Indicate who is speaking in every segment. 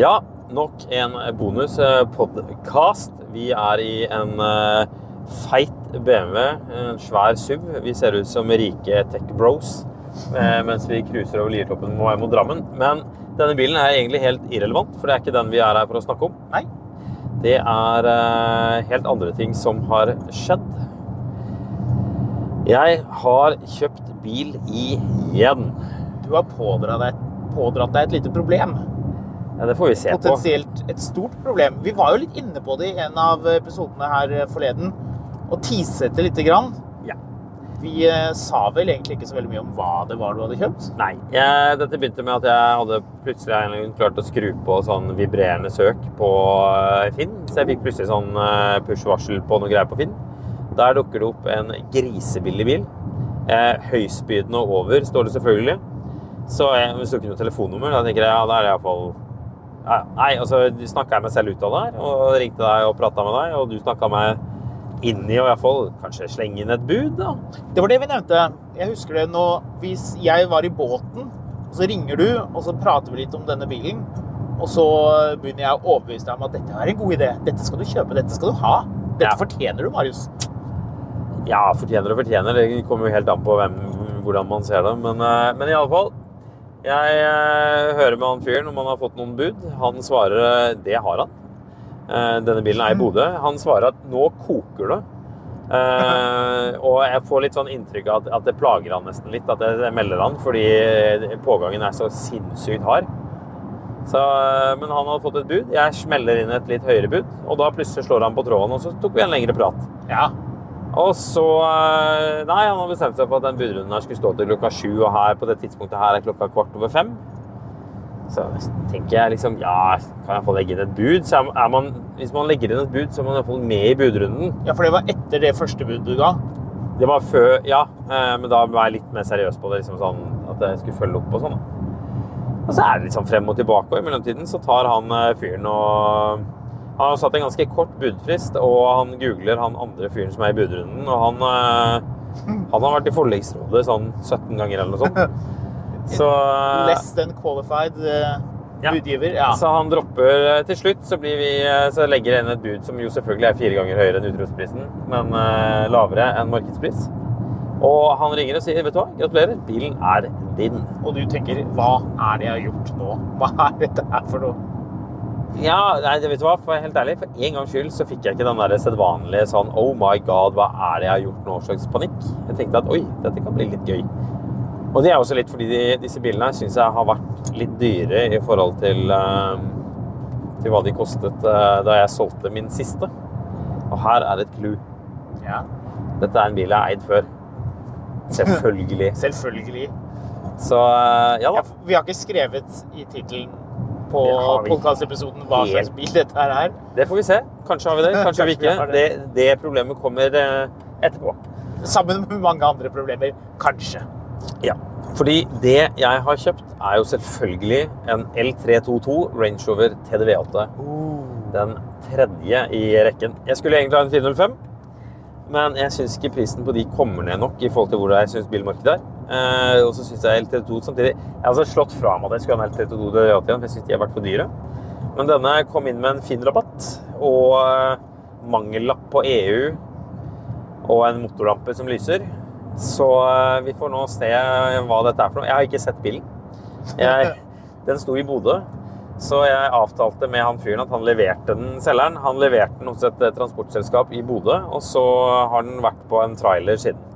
Speaker 1: Ja, nok en bonuspodkast. Vi er i en eh, feit BMW, en svær SUV. Vi ser ut som rike tech bros eh, mens vi cruiser over Liertoppen på vei mot Drammen. Men denne bilen er egentlig helt irrelevant, for det er ikke den vi er her for å snakke om. Nei. Det er eh, helt andre ting som har skjedd. Jeg har kjøpt bil igjen.
Speaker 2: Du har pådratt deg, pådratt deg et lite problem.
Speaker 1: Ja, det får vi se på.
Speaker 2: Potensielt et stort problem. Vi var jo litt inne på det i en av episodene her eh, forleden, og teaset det lite grann.
Speaker 1: Ja.
Speaker 2: Vi eh, sa vel egentlig ikke så veldig mye om hva det var du hadde kjøpt.
Speaker 1: Nei. Jeg, dette begynte med at jeg hadde plutselig av en eller annen grunn klart å skru på sånn vibrerende søk på eh, Finn. Så jeg fikk plutselig sånn eh, push-varsel på noe greier på Finn. Der dukker det opp en grisebillig bil. Eh, Høystbydende og over, står det selvfølgelig. Så jeg, hvis det ikke er noe telefonnummer, da tenker jeg ja, da er det iallfall ja, Nei, altså snakka jeg meg selv ut av det her, og ringte deg og prata med deg, og du snakka meg inn i, og iallfall kanskje slenge inn et bud, da.
Speaker 2: Det var det vi nevnte. Jeg husker det nå Hvis jeg var i båten, og så ringer du, og så prater vi litt om denne bilen, og så begynner jeg å overbevise deg om at dette er en god idé. Dette skal du kjøpe. Dette skal du ha. Dette
Speaker 1: Ja.
Speaker 2: fortjener du, Marius.
Speaker 1: Ja, fortjener og fortjener. Det kommer jo helt an på hvem, hvordan man ser det. Men, eh, men i alle fall, jeg eh, hører med han fyren om han har fått noen bud. Han svarer eh, det har han. Eh, Denne bilen er i Bodø. Han svarer at nå koker det. Eh, og jeg får litt sånn inntrykk av at, at det plager han nesten litt, at jeg melder han, fordi eh, pågangen er så sinnssykt hard. Så, eh, men han hadde fått et bud. Jeg smeller inn et litt høyere bud, og da plutselig slår han på tråden, og så tok vi en lengre prat.
Speaker 2: Ja.
Speaker 1: Og så eh, Nei, han har bestemt seg for at den budrunden her skulle stå til klokka sju, og her på det tidspunktet her er klokka kvart over fem. Så tenker jeg liksom Ja, kan jeg få legge inn et bud? Så er er man, hvis man legger inn et bud, så er man iallfall med i budrunden.
Speaker 2: ja, for det var etter det første budet du ga.
Speaker 1: Det var før Ja, eh, men da var jeg litt mer seriøs på det, liksom sånn at jeg skulle følge opp og sånn. da. Og så er det litt sånn frem og tilbake, og i mellomtiden så tar han eh, fyren og Han har satt en ganske kort budfrist, og han googler han andre fyren som er i budrunden, og han eh, Han har vært i forliksrådet sånn 17 ganger eller noe sånt. Så, eh,
Speaker 2: Less than qualified eh,
Speaker 1: Ja.
Speaker 2: budgiver. Ja.
Speaker 1: så han dropper eh, til slutt, så, blir vi, eh, så legger jeg inn et bud som jo selvfølgelig er fire ganger høyere enn utrustprisen, men eh, lavere enn markedspris. Og han ringer og sier, vet du hva, gratulerer, bilen er din.
Speaker 2: Og du tenker Hva er det jeg har gjort nå? Hva er dette her for noe?
Speaker 1: Ja, nei, det vet du hva, for å være helt ærlig, for en gangs skyld så fikk jeg ikke den der sedvanlige sånn Oh my god, hva er det jeg har gjort nå? slags panikk. Jeg tenkte at oi, dette kan bli litt gøy. Og det er også litt fordi de, disse bilene her syns jeg har vært litt dyre i forhold til, eh, til hva de kostet eh, da jeg solgte min siste. Og her er et clou.
Speaker 2: Ja,
Speaker 1: Dette er en bil jeg har eid før. Selvfølgelig.
Speaker 2: Selvfølgelig.
Speaker 1: Så eh, ja
Speaker 2: Ja,
Speaker 1: da.
Speaker 2: for vi har ikke skrevet i tittelen på
Speaker 1: Det har vi ikke.
Speaker 2: podkastepisoden hva
Speaker 1: Helt.
Speaker 2: slags bil dette her er.
Speaker 1: Det får vi se. Kanskje har vi det, kanskje har vi
Speaker 2: Kanskje vi
Speaker 1: ikke.
Speaker 2: har
Speaker 1: Det,
Speaker 2: det.
Speaker 1: det problemet kommer eh, etterpå.
Speaker 2: Sammen med mange andre problemer. Kanskje.
Speaker 1: Ja, fordi det jeg har kjøpt er jo selvfølgelig en L322 Range Rover TDV8. Den tredje i rekken. Jeg skulle egentlig ha en 405, men jeg syns ikke prisen på de kommer ned nok i forhold til hvor jeg syns bilmarkedet er. Eh, og så syns jeg LT2 samtidig Jeg har altså slått fra meg at jeg skulle ha en LT2 Deloitte igjen, for jeg syns de har vært for dyre. Men denne kom inn med en fin rabatt og eh, mangellapp på EU og en motorlampe som lyser. Så eh, vi får nå se hva dette er for noe. Jeg har ikke sett bilen. Jeg, den sto i Bodø. Så jeg avtalte med han fyren at han leverte den selgeren. Han leverte den hos et eh, transportselskap i Bodø, og så har den vært på en trailer siden.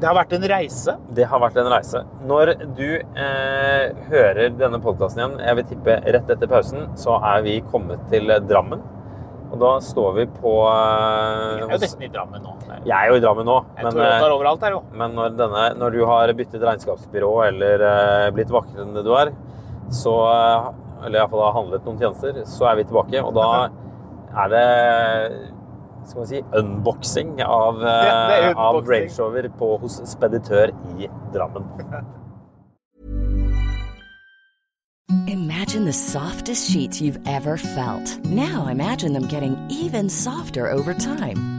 Speaker 2: Det har vært en reise.
Speaker 1: Det har vært en reise. Når du eh, hører denne podkasten igjen, jeg vil tippe rett etter pausen, så er vi kommet til eh, Drammen. Og da står vi på eh,
Speaker 2: Jeg er jo
Speaker 1: hos-
Speaker 2: nesten i Drammen nå. Jeg
Speaker 1: Jeg er jo i Drammen nå, men,
Speaker 2: tror jeg
Speaker 1: eh,
Speaker 2: er overalt her, jo.
Speaker 1: men når, denne, når du har byttet regnskapsbyrå eller eh, blitt vakrere enn det du er, så eh, Eller iallfall har handlet noen tjenester, så er vi tilbake. Og da er det skal man si unboxing av, eh,
Speaker 2: Ja, det er
Speaker 1: av
Speaker 2: unboxing.
Speaker 1: Range Rover på, hos speditør i Drammen.
Speaker 3: Imagine the softest sheets you've ever felt. Now imagine them getting even softer over time.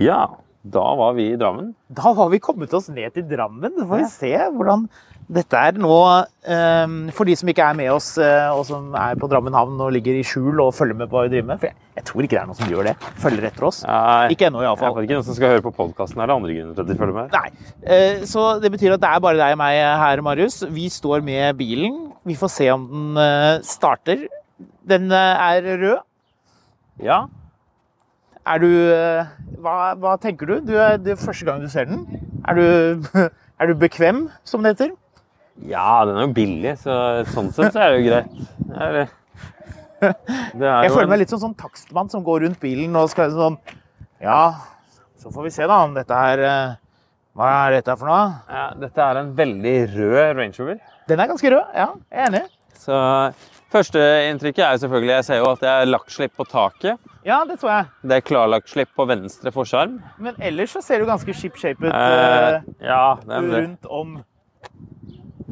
Speaker 1: Ja, da var vi i Drammen.
Speaker 2: Da har vi kommet oss ned til Drammen. Da får vi se hvordan dette er nå ehm, For de som ikke er med oss, eh, og som er på Drammen havn og ligger i skjul og følger med på hva vi driver med. For jeg, jeg tror ikke det er noen som gjør det. Følger etter oss. Ikke ennå,
Speaker 1: Jeg
Speaker 2: iallfall.
Speaker 1: vet ikke noen som skal høre på podkasten. Er det andre grunner til at de følger med?
Speaker 2: Nei. Eh, Så det betyr at det er bare deg og meg eh, her, Marius. Vi står med bilen. Vi får se om den eh, starter. Den eh, er rød.
Speaker 1: Ja.
Speaker 2: Er du eh, Hva, hva tenker du? du er, det er første gang du ser den. Er du, er du bekvem, som det heter?
Speaker 1: ja, den er jo billig, så sånn sett så er det jo greit. Det er, det er
Speaker 2: Jeg
Speaker 1: jo
Speaker 2: føler
Speaker 1: en-
Speaker 2: meg litt som sånn takstmann som går rundt bilen og skal sånn Ja, så får vi se, da, om dette her eh, Hva er dette for noe?
Speaker 1: ja, Dette er en veldig rød Range Rover.
Speaker 2: Den er ganske rød. Ja, jeg er enig.
Speaker 1: Så førsteinntrykket er jo selvfølgelig Jeg ser jo at det er lakkslipp på taket.
Speaker 2: Ja, det så jeg.
Speaker 1: Det er klarlakkslipp på venstre forskjerm.
Speaker 2: Men ellers så ser du ganske ship shape ut.
Speaker 1: Eh,
Speaker 2: eh,
Speaker 1: ja, det er det.
Speaker 2: rundt om.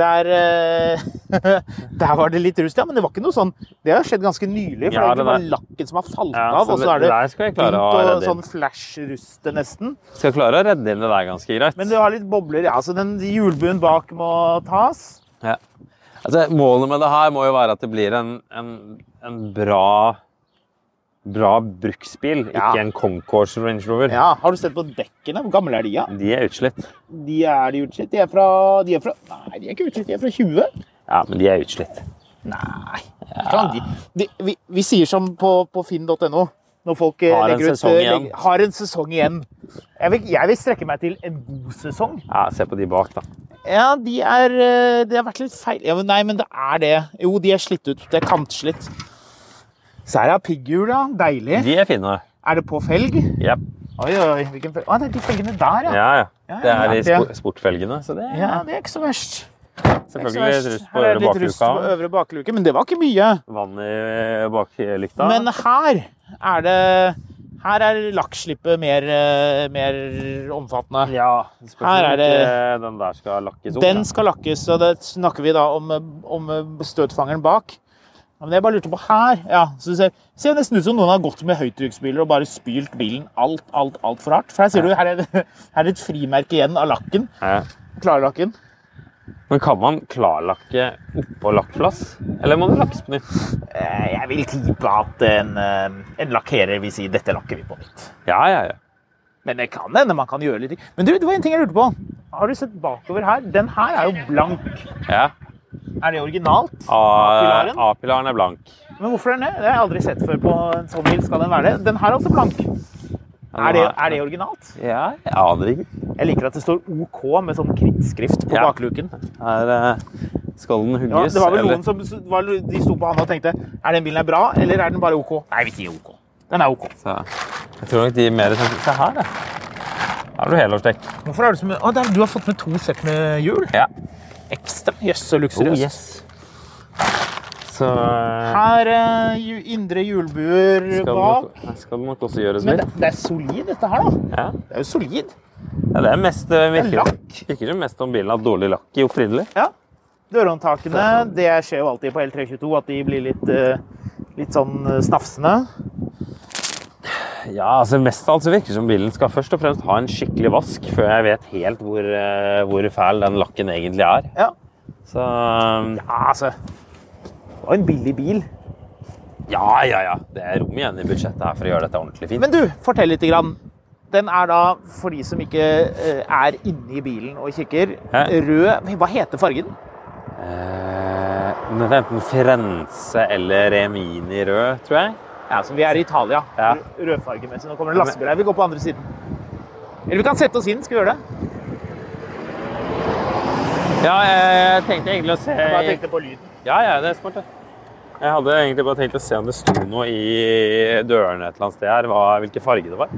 Speaker 2: Der, eh, der var det litt rust, ja. Men det var ikke noe sånn Det har skjedd ganske nylig. For
Speaker 1: Ja,
Speaker 2: det
Speaker 1: det
Speaker 2: er bare
Speaker 1: der-
Speaker 2: lakken som har falt
Speaker 1: Ja,
Speaker 2: av,
Speaker 1: så
Speaker 2: og så
Speaker 1: det-
Speaker 2: er det
Speaker 1: der skal jeg klare å
Speaker 2: begynt
Speaker 1: ha
Speaker 2: å
Speaker 1: redde inn.
Speaker 2: sånn flash-ruste nesten.
Speaker 1: Skal klare å redde inn det der ganske greit.
Speaker 2: Men det har litt bobler, ja. Så den hjulbuen bak må tas.
Speaker 1: Ja. Altså, målet med det her må jo være at det blir en, en, en bra bra bruksbil,
Speaker 2: Ja.
Speaker 1: ikke en Concourse Range Rover.
Speaker 2: Ja, Har du sett på dekkene? Hvor gamle er de? Ja?
Speaker 1: De er utslitt.
Speaker 2: De er de utslitt. De er fra, de er fra Nei, de er ikke utslitt. De er fra 20.
Speaker 1: Ja, men de er utslitt.
Speaker 2: Nei Kan de, de, vi, vi sier som på, på finn.no når folk eh,
Speaker 1: Har en
Speaker 2: legger ut
Speaker 1: sesong
Speaker 2: eh,
Speaker 1: igjen.
Speaker 2: legger- Har en sesong igjen. Jeg vil, jeg vil strekke meg til en god sesong.
Speaker 1: Ja, se på de bak, da.
Speaker 2: Ja, de er eh, Det har vært litt feil ja, men Nei, men det er det. Jo, de er slitt ut. Det er kantslitt. Så her er pigghjul, ja. Deilig.
Speaker 1: De er fine.
Speaker 2: Er det på felg?
Speaker 1: Jep.
Speaker 2: Oi, oi, hvilken felg? Å, det er de felgene der, ja.
Speaker 1: Ja, ja. Det er de
Speaker 2: ja.
Speaker 1: spo sportfelgene, så det er
Speaker 2: Ja, det er ikke så verst. Det er ikke så
Speaker 1: selvfølgelig litt rust på
Speaker 2: verst. Her er
Speaker 1: øre
Speaker 2: litt rust
Speaker 1: bakluka.
Speaker 2: på øvre bakluke, men det var ikke mye.
Speaker 1: Vann i eh, baklykta.
Speaker 2: Men her er det Her er lakkslippet mer, eh, mer omfattende.
Speaker 1: ja, spørs om
Speaker 2: Her er det-
Speaker 1: ikke Den der skal lakkes opp.
Speaker 2: Den
Speaker 1: da.
Speaker 2: skal lakkes, og det snakker vi da om, eh, om eh, støtfangeren bak. Ja, Men jeg bare lurte på her ja, så du ser, ser nesten ut som noen har gått med høytrykksbiler og bare spylt bilen alt, alt, alt for hardt. For her ser du, her er, det, her er det et frimerke igjen av lakken.
Speaker 1: Ja.
Speaker 2: Klarlakken.
Speaker 1: Men kan man klarlakke oppå lakkplass? Eller må det lakkes på nytt?
Speaker 2: Eh, Jeg vil tippe at en, eh, en lakkerer vil si 'dette lakker vi på nytt'.
Speaker 1: Ja, ja, ja.
Speaker 2: Men det kan hende man kan gjøre litt ting. Men du, det var en ting jeg lurte på. Har du sett bakover her? Den her er jo blank.
Speaker 1: ja.
Speaker 2: Er det originalt?
Speaker 1: A-
Speaker 2: A-pilaren?
Speaker 1: A-pilaren er blank.
Speaker 2: Men hvorfor er den det? Det har jeg aldri sett før på en sånn bil. Skal den være det? Den her er altså blank. Er det, er det originalt?
Speaker 1: Ja, jeg aner ikke.
Speaker 2: Jeg liker at det står OK med sånn krittskrift på
Speaker 1: Ja.
Speaker 2: bakluken.
Speaker 1: Her eh, skal den
Speaker 2: Ja,
Speaker 1: hugges.
Speaker 2: det var vel
Speaker 1: eller-
Speaker 2: noen som s- var, de sto på handa og tenkte er den bilen her bra, eller er den bare OK? Nei, vi sier OK. Den er OK.
Speaker 1: Så, jeg tror nok de mer tenker Se her, da. Her har du helårsdekk.
Speaker 2: Hvorfor er det så mye Å, der, du har fått med to sett med hjul.
Speaker 1: Ja.
Speaker 2: Ekstra. Jøss, så
Speaker 1: Oh,
Speaker 2: luksuriøst.
Speaker 1: yes. Så eh,
Speaker 2: Her eh, ju- indre hjulbuer
Speaker 1: skal det
Speaker 2: bak.
Speaker 1: nok, her skal det nok også gjøres
Speaker 2: Men det,
Speaker 1: litt.
Speaker 2: det er solid, dette her, da.
Speaker 1: Ja.
Speaker 2: Det er jo solid.
Speaker 1: Ja, det er mest, det virker,
Speaker 2: Lakk.
Speaker 1: virker det mest om bilen har dårlig lakk i opprinnelig.
Speaker 2: Ja. Dørhåndtakene, det skjer jo alltid på L322 at de blir litt, eh, litt sånn eh, snafsende.
Speaker 1: Ja, altså Mest av alt så virker det som bilen skal først og fremst ha en skikkelig vask før jeg vet helt hvor, eh, hvor fæl den lakken egentlig er.
Speaker 2: Ja.
Speaker 1: Så um,
Speaker 2: Ja, altså. Det var en billig bil.
Speaker 1: ja, ja, ja. Det er rom igjen i budsjettet her for å gjøre dette ordentlig fint.
Speaker 2: Men du, fortell litt. Grann. Den er da, for de som ikke eh, er inni bilen og kikker,
Speaker 1: Hæ?
Speaker 2: rød Hva heter fargen?
Speaker 1: Eh, men det er enten Firenze eller Remini rød, tror jeg.
Speaker 2: Ja, så Vi er i Italia,
Speaker 1: Ja.
Speaker 2: rød- rødfargemessig. Nå kommer det en lastebil her. Vi går på andre siden. Eller vi kan sette oss inn. Skal vi gjøre det?
Speaker 1: Ja, jeg tenkte egentlig å se
Speaker 2: Jeg bare tenkte på lyden.
Speaker 1: Ja, ja, det er smart, det. Jeg hadde egentlig bare tenkt å se om det sto noe i dørene et eller annet sted her, hva, hvilken farge det var.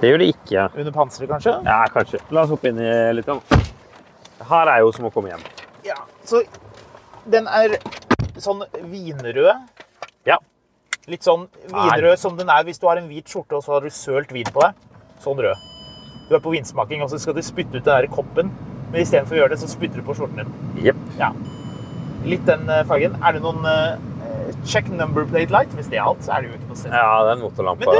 Speaker 1: Det gjør det ikke.
Speaker 2: Under panseret, kanskje?
Speaker 1: Ja, kanskje. La oss hoppe inn i litt. da. Her er jo som å komme hjem.
Speaker 2: Ja. Så den er sånn vinrød.
Speaker 1: Ja.
Speaker 2: Litt sånn vinrød som den er hvis du har en hvit skjorte og så har du sølt vin på deg. Sånn rød. Du er på vinsmaking, og så skal du spytte ut den der koppen. Men istedenfor å gjøre det, så spytter du på skjorten din.
Speaker 1: Jepp.
Speaker 2: Ja. Litt den eh, fargen. Er det noen eh, check number plate light? Hvis det er alt, så er det jo ikke noe sted.
Speaker 1: Ja, det er en motorlampe.
Speaker 2: Men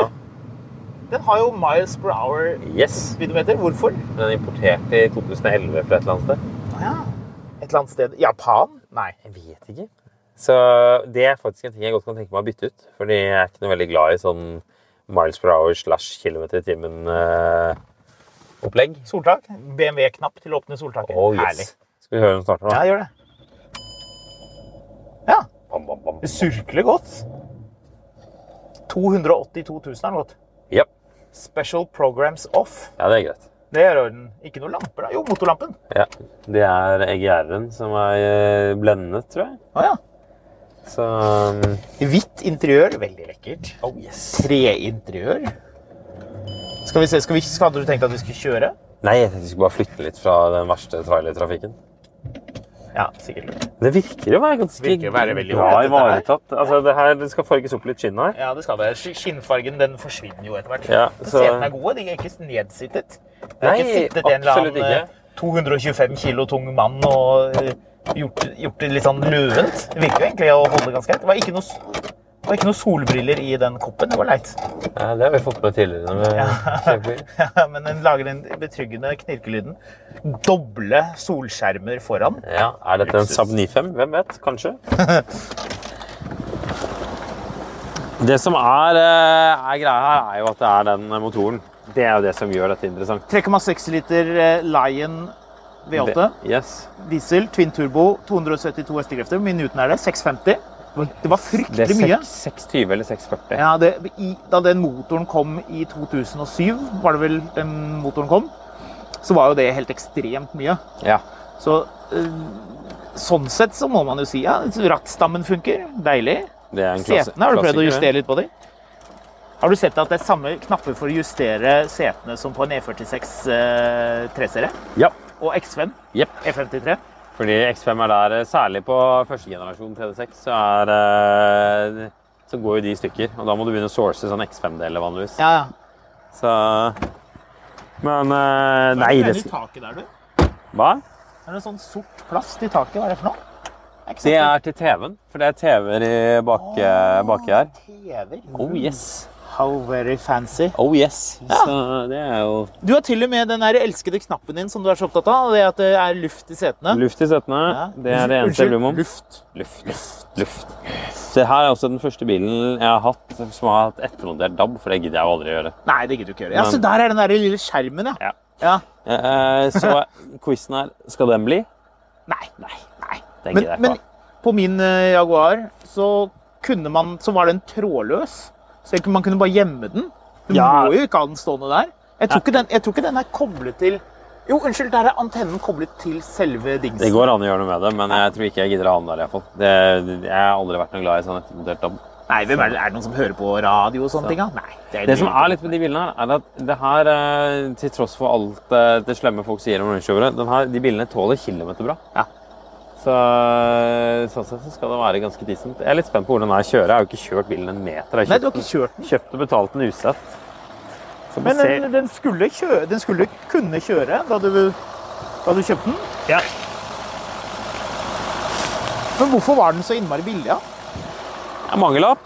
Speaker 2: Den har jo miles per hour
Speaker 1: da. Yes.
Speaker 2: speedometer. Hvorfor?
Speaker 1: Den er importert i 2011 fra et eller annet sted.
Speaker 2: Et eller annet sted Japan? Nei.
Speaker 1: Jeg vet ikke. Så det er faktisk en ting jeg godt kan tenke meg å bytte ut. Fordi jeg er ikke noe veldig glad i sånn miles per hour slash kilometer i eh, timen-opplegg.
Speaker 2: Soltak. BMW-knapp til å åpne soltaket. Herlig.
Speaker 1: Skal vi høre den starte nå?
Speaker 2: Ja, gjør det. Ja.
Speaker 1: Bam, bam, bam.
Speaker 2: Det surkler godt. 282 000 er den godt.
Speaker 1: Ja.
Speaker 2: Special programs off.
Speaker 1: ja, det er greit.
Speaker 2: Det er i orden. Ikke noen lamper, da. Jo, motorlampen.
Speaker 1: Ja. Det er EGR-en som er eh, blendet, tror jeg.
Speaker 2: Å ja.
Speaker 1: Så um,
Speaker 2: Hvitt interiør. Veldig lekkert.
Speaker 1: Oh yes.
Speaker 2: Treinteriør. Skal vi se, skal vi, skal- Hadde du tenkt at vi skulle kjøre?
Speaker 1: Nei, jeg tenkte vi skulle bare flytte litt fra den verste trailertrafikken.
Speaker 2: Ja, sikkert lurt.
Speaker 1: Det virker å være ganske
Speaker 2: Virker å være veldig
Speaker 1: bra
Speaker 2: ålreit, dette her.
Speaker 1: ivaretatt. Altså, det her det skal farges opp litt skinn her.
Speaker 2: Ja, det skal det. Sk- Skinnfargen den forsvinner jo etter hvert.
Speaker 1: Ja,
Speaker 2: Men
Speaker 1: så-
Speaker 2: Setene er gode. De er ikke nedsittet. Det er
Speaker 1: Nei,
Speaker 2: ikke sittet en eller
Speaker 1: absolutt
Speaker 2: annen eh,
Speaker 1: ikke.
Speaker 2: 225 kilo tung mann og eh, gjort, gjort det litt sånn løvent. Det virker jo egentlig å holde ganske greit. Det var ikke noe, s- det var ikke noe solbriller i den koppen. Det var leit.
Speaker 1: Ja, det har vi fått med tidligere. Med kjempebil.
Speaker 2: Men den lager den betryggende knirkelyden. Doble solskjermer foran.
Speaker 1: Ja, Er dette en Saab 95? Hvem vet? Kanskje? Det som er, eh, er greia her, er jo at det er den motoren. Det er jo det som gjør dette interessant.
Speaker 2: 3,6 liter eh, Lion V8.
Speaker 1: Yes.
Speaker 2: Diesel, twin turbo, 272 hestekrefter. Minuten er det. 650. Det var- Det var
Speaker 1: Det er
Speaker 2: fryktelig mye.
Speaker 1: 6, 620 eller 640.
Speaker 2: Ja, det, i, da den motoren kom i 2007, var det vel den motoren kom, så var jo det helt ekstremt mye.
Speaker 1: Ja.
Speaker 2: Så eh, sånn sett så må man jo si ja, rattstammen funker. Deilig.
Speaker 1: Det er en klasse,
Speaker 2: Setene, har du prøvd å
Speaker 1: klassiker.
Speaker 2: justere litt på dem? Har du sett at det er samme knapper for å justere setene som på en E46 eh, 3-serie?
Speaker 1: Ja.
Speaker 2: Og E X5?
Speaker 1: Jepp.
Speaker 2: E53?
Speaker 1: Fordi X5 er der, eh, særlig på første generasjon 36, så, er, eh, så går jo de i stykker. Og da må du begynne å source sånn X5-deler vanligvis.
Speaker 2: Ja, ja.
Speaker 1: Så Men eh,
Speaker 2: Hva
Speaker 1: Nei,
Speaker 2: er det
Speaker 1: det
Speaker 2: i taket der, du?
Speaker 1: Hva?
Speaker 2: Er det sånn sort plast i taket? Hva er det for noe? Er ikke sånn
Speaker 1: Det
Speaker 2: sant?
Speaker 1: er til TV-en, for det er TV-er i bak, baki her.
Speaker 2: TV-er.
Speaker 1: Oh yes.
Speaker 2: How very fancy.
Speaker 1: Oh yes.
Speaker 2: Ja.
Speaker 1: Så det er jo
Speaker 2: Du har til og med den der elskede knappen din som du er så opptatt av. Det at det er luft i setene.
Speaker 1: luft i setene.
Speaker 2: Ja.
Speaker 1: Det er det eneste jeg bryr meg om.
Speaker 2: Luft.
Speaker 1: Luft, luft, luft. Så her er også den første bilen jeg har hatt som har hatt ettermontert DAB, for det gidder jeg jo aldri å gjøre.
Speaker 2: Nei, det gidder du ikke gjøre. Ja,
Speaker 1: Men-
Speaker 2: så der er den der lille skjermen, ja.
Speaker 1: Ja.
Speaker 2: ja.
Speaker 1: Eh, Så quizen her, skal den bli?
Speaker 2: Nei. Nei. Nei.
Speaker 1: Den
Speaker 2: Men,
Speaker 1: gidder jeg
Speaker 2: men
Speaker 1: ikke.
Speaker 2: på min eh, Jaguar så kunne man Så var den trådløs. Så jeg- man kunne bare gjemme den. Du
Speaker 1: Ja.
Speaker 2: må jo ikke ha den stående der. Jeg tror, ikke den, jeg tror ikke den er koblet til Jo, unnskyld, der er antennen koblet til selve dingsen.
Speaker 1: Det går an å gjøre noe med det, men jeg tror ikke jeg gidder å ha den der. i hvert fall. Det, jeg har aldri vært noe glad i sånn ettermontert DAB.
Speaker 2: Nei, hvem er det? Er det noen som hører på radio og sånne ting? da? Nei.
Speaker 1: Det som er litt med de bilene, her, er at det her, eh, til tross for alt eh, det slemme folk sier om rundkjøpere, den her- de bilene tåler kilometerbra.
Speaker 2: Ja.
Speaker 1: Så, sånn sett så skal det være ganske decent. Jeg er litt spent på hvordan den her kjører. Jeg har jo ikke kjørt bilen en meter. Jeg
Speaker 2: Nei, du har ikke kjørt den.
Speaker 1: den. eh, Kjøpt og betalt den usett. Så
Speaker 2: Men
Speaker 1: vi ser-
Speaker 2: den, den, skulle kjøre, den skulle kunne kjøre da du, da du kjøpte den.
Speaker 1: Ja.
Speaker 2: Men hvorfor var den så innmari billig? da?
Speaker 1: Det er Mangelapp.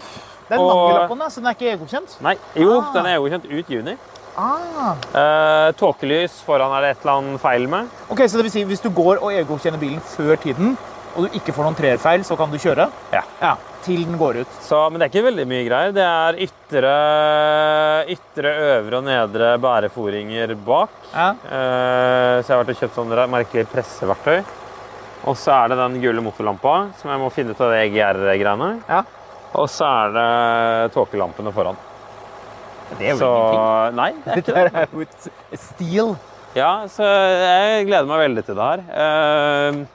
Speaker 2: Det er en
Speaker 1: Og-
Speaker 2: mangel på den, da, så den er ikke EU-godkjent.
Speaker 1: Nei, jo,
Speaker 2: Ah.
Speaker 1: den er godkjent ut juni.
Speaker 2: Ah.
Speaker 1: Eh, tåkelys foran er det et eller annet feil med.
Speaker 2: Ok, så det vil si, Hvis du går og EU-godkjenner bilen før tiden, og du ikke får noen treerfeil, så kan du kjøre?
Speaker 1: Ja.
Speaker 2: ja. Til den går ut.
Speaker 1: Så, men det er ikke veldig mye greier. Det er ytre, ytre øvre og nedre bæreforinger bak.
Speaker 2: Ja.
Speaker 1: Eh, Så jeg har vært og kjøpt sånne merkelige presseverktøy. Og så er det den gule motorlampa, som jeg må finne ut av det EGR-greiene.
Speaker 2: Ja.
Speaker 1: Og så er det tåkelampene foran.
Speaker 2: Det er jo
Speaker 1: Så
Speaker 2: ingenting.
Speaker 1: nei, det er ikke
Speaker 2: Dette
Speaker 1: det.
Speaker 2: her er jo et et stil.
Speaker 1: Ja, så jeg gleder meg veldig til det her. Eh,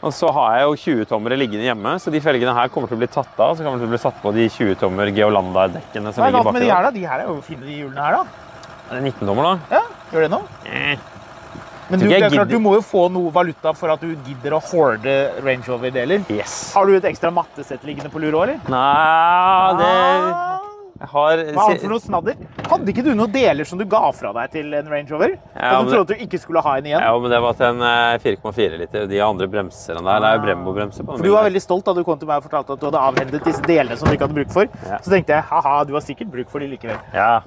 Speaker 1: Og så har jeg jo 20-tommere liggende hjemme, så de felgene her kommer til å bli tatt av. Så kommer det til å bli satt på de 20-tommer Geolanda-dekkene som
Speaker 2: Hva er
Speaker 1: ligger
Speaker 2: galt med
Speaker 1: baki
Speaker 2: de
Speaker 1: der.
Speaker 2: her, da? De her er jo fine, de hjulene her, da.
Speaker 1: Er det 19-tommer, da?
Speaker 2: Ja, Gjør det noe? Men
Speaker 1: Eh. Tror ikke
Speaker 2: du, det
Speaker 1: jeg
Speaker 2: er
Speaker 1: gidder.
Speaker 2: klart, du må jo få noe valuta for at du gidder å hoarde Range Rover-deler.
Speaker 1: Yes.
Speaker 2: Har du et ekstra mattesett liggende på lur òg, eller?
Speaker 1: Nei, det jeg
Speaker 2: Ah,
Speaker 1: har
Speaker 2: Hva er det for noe snadder? Hadde ikke du noen deler som du ga fra deg til en Range Rover?
Speaker 1: Ja,
Speaker 2: og du
Speaker 1: men-
Speaker 2: trodde du ikke skulle ha en igjen?
Speaker 1: Ja, men det var til en eh, 4,4 liter. De andre bremser enn der. Det er jo Brembo-bremser på den.
Speaker 2: For Du var
Speaker 1: bilen.
Speaker 2: veldig stolt da du kom til meg og fortalte at du hadde avhendet disse delene som du ikke hadde bruk for.
Speaker 1: Ja.
Speaker 2: Så tenkte jeg haha, du har sikkert bruk for de likevel.
Speaker 1: Ja.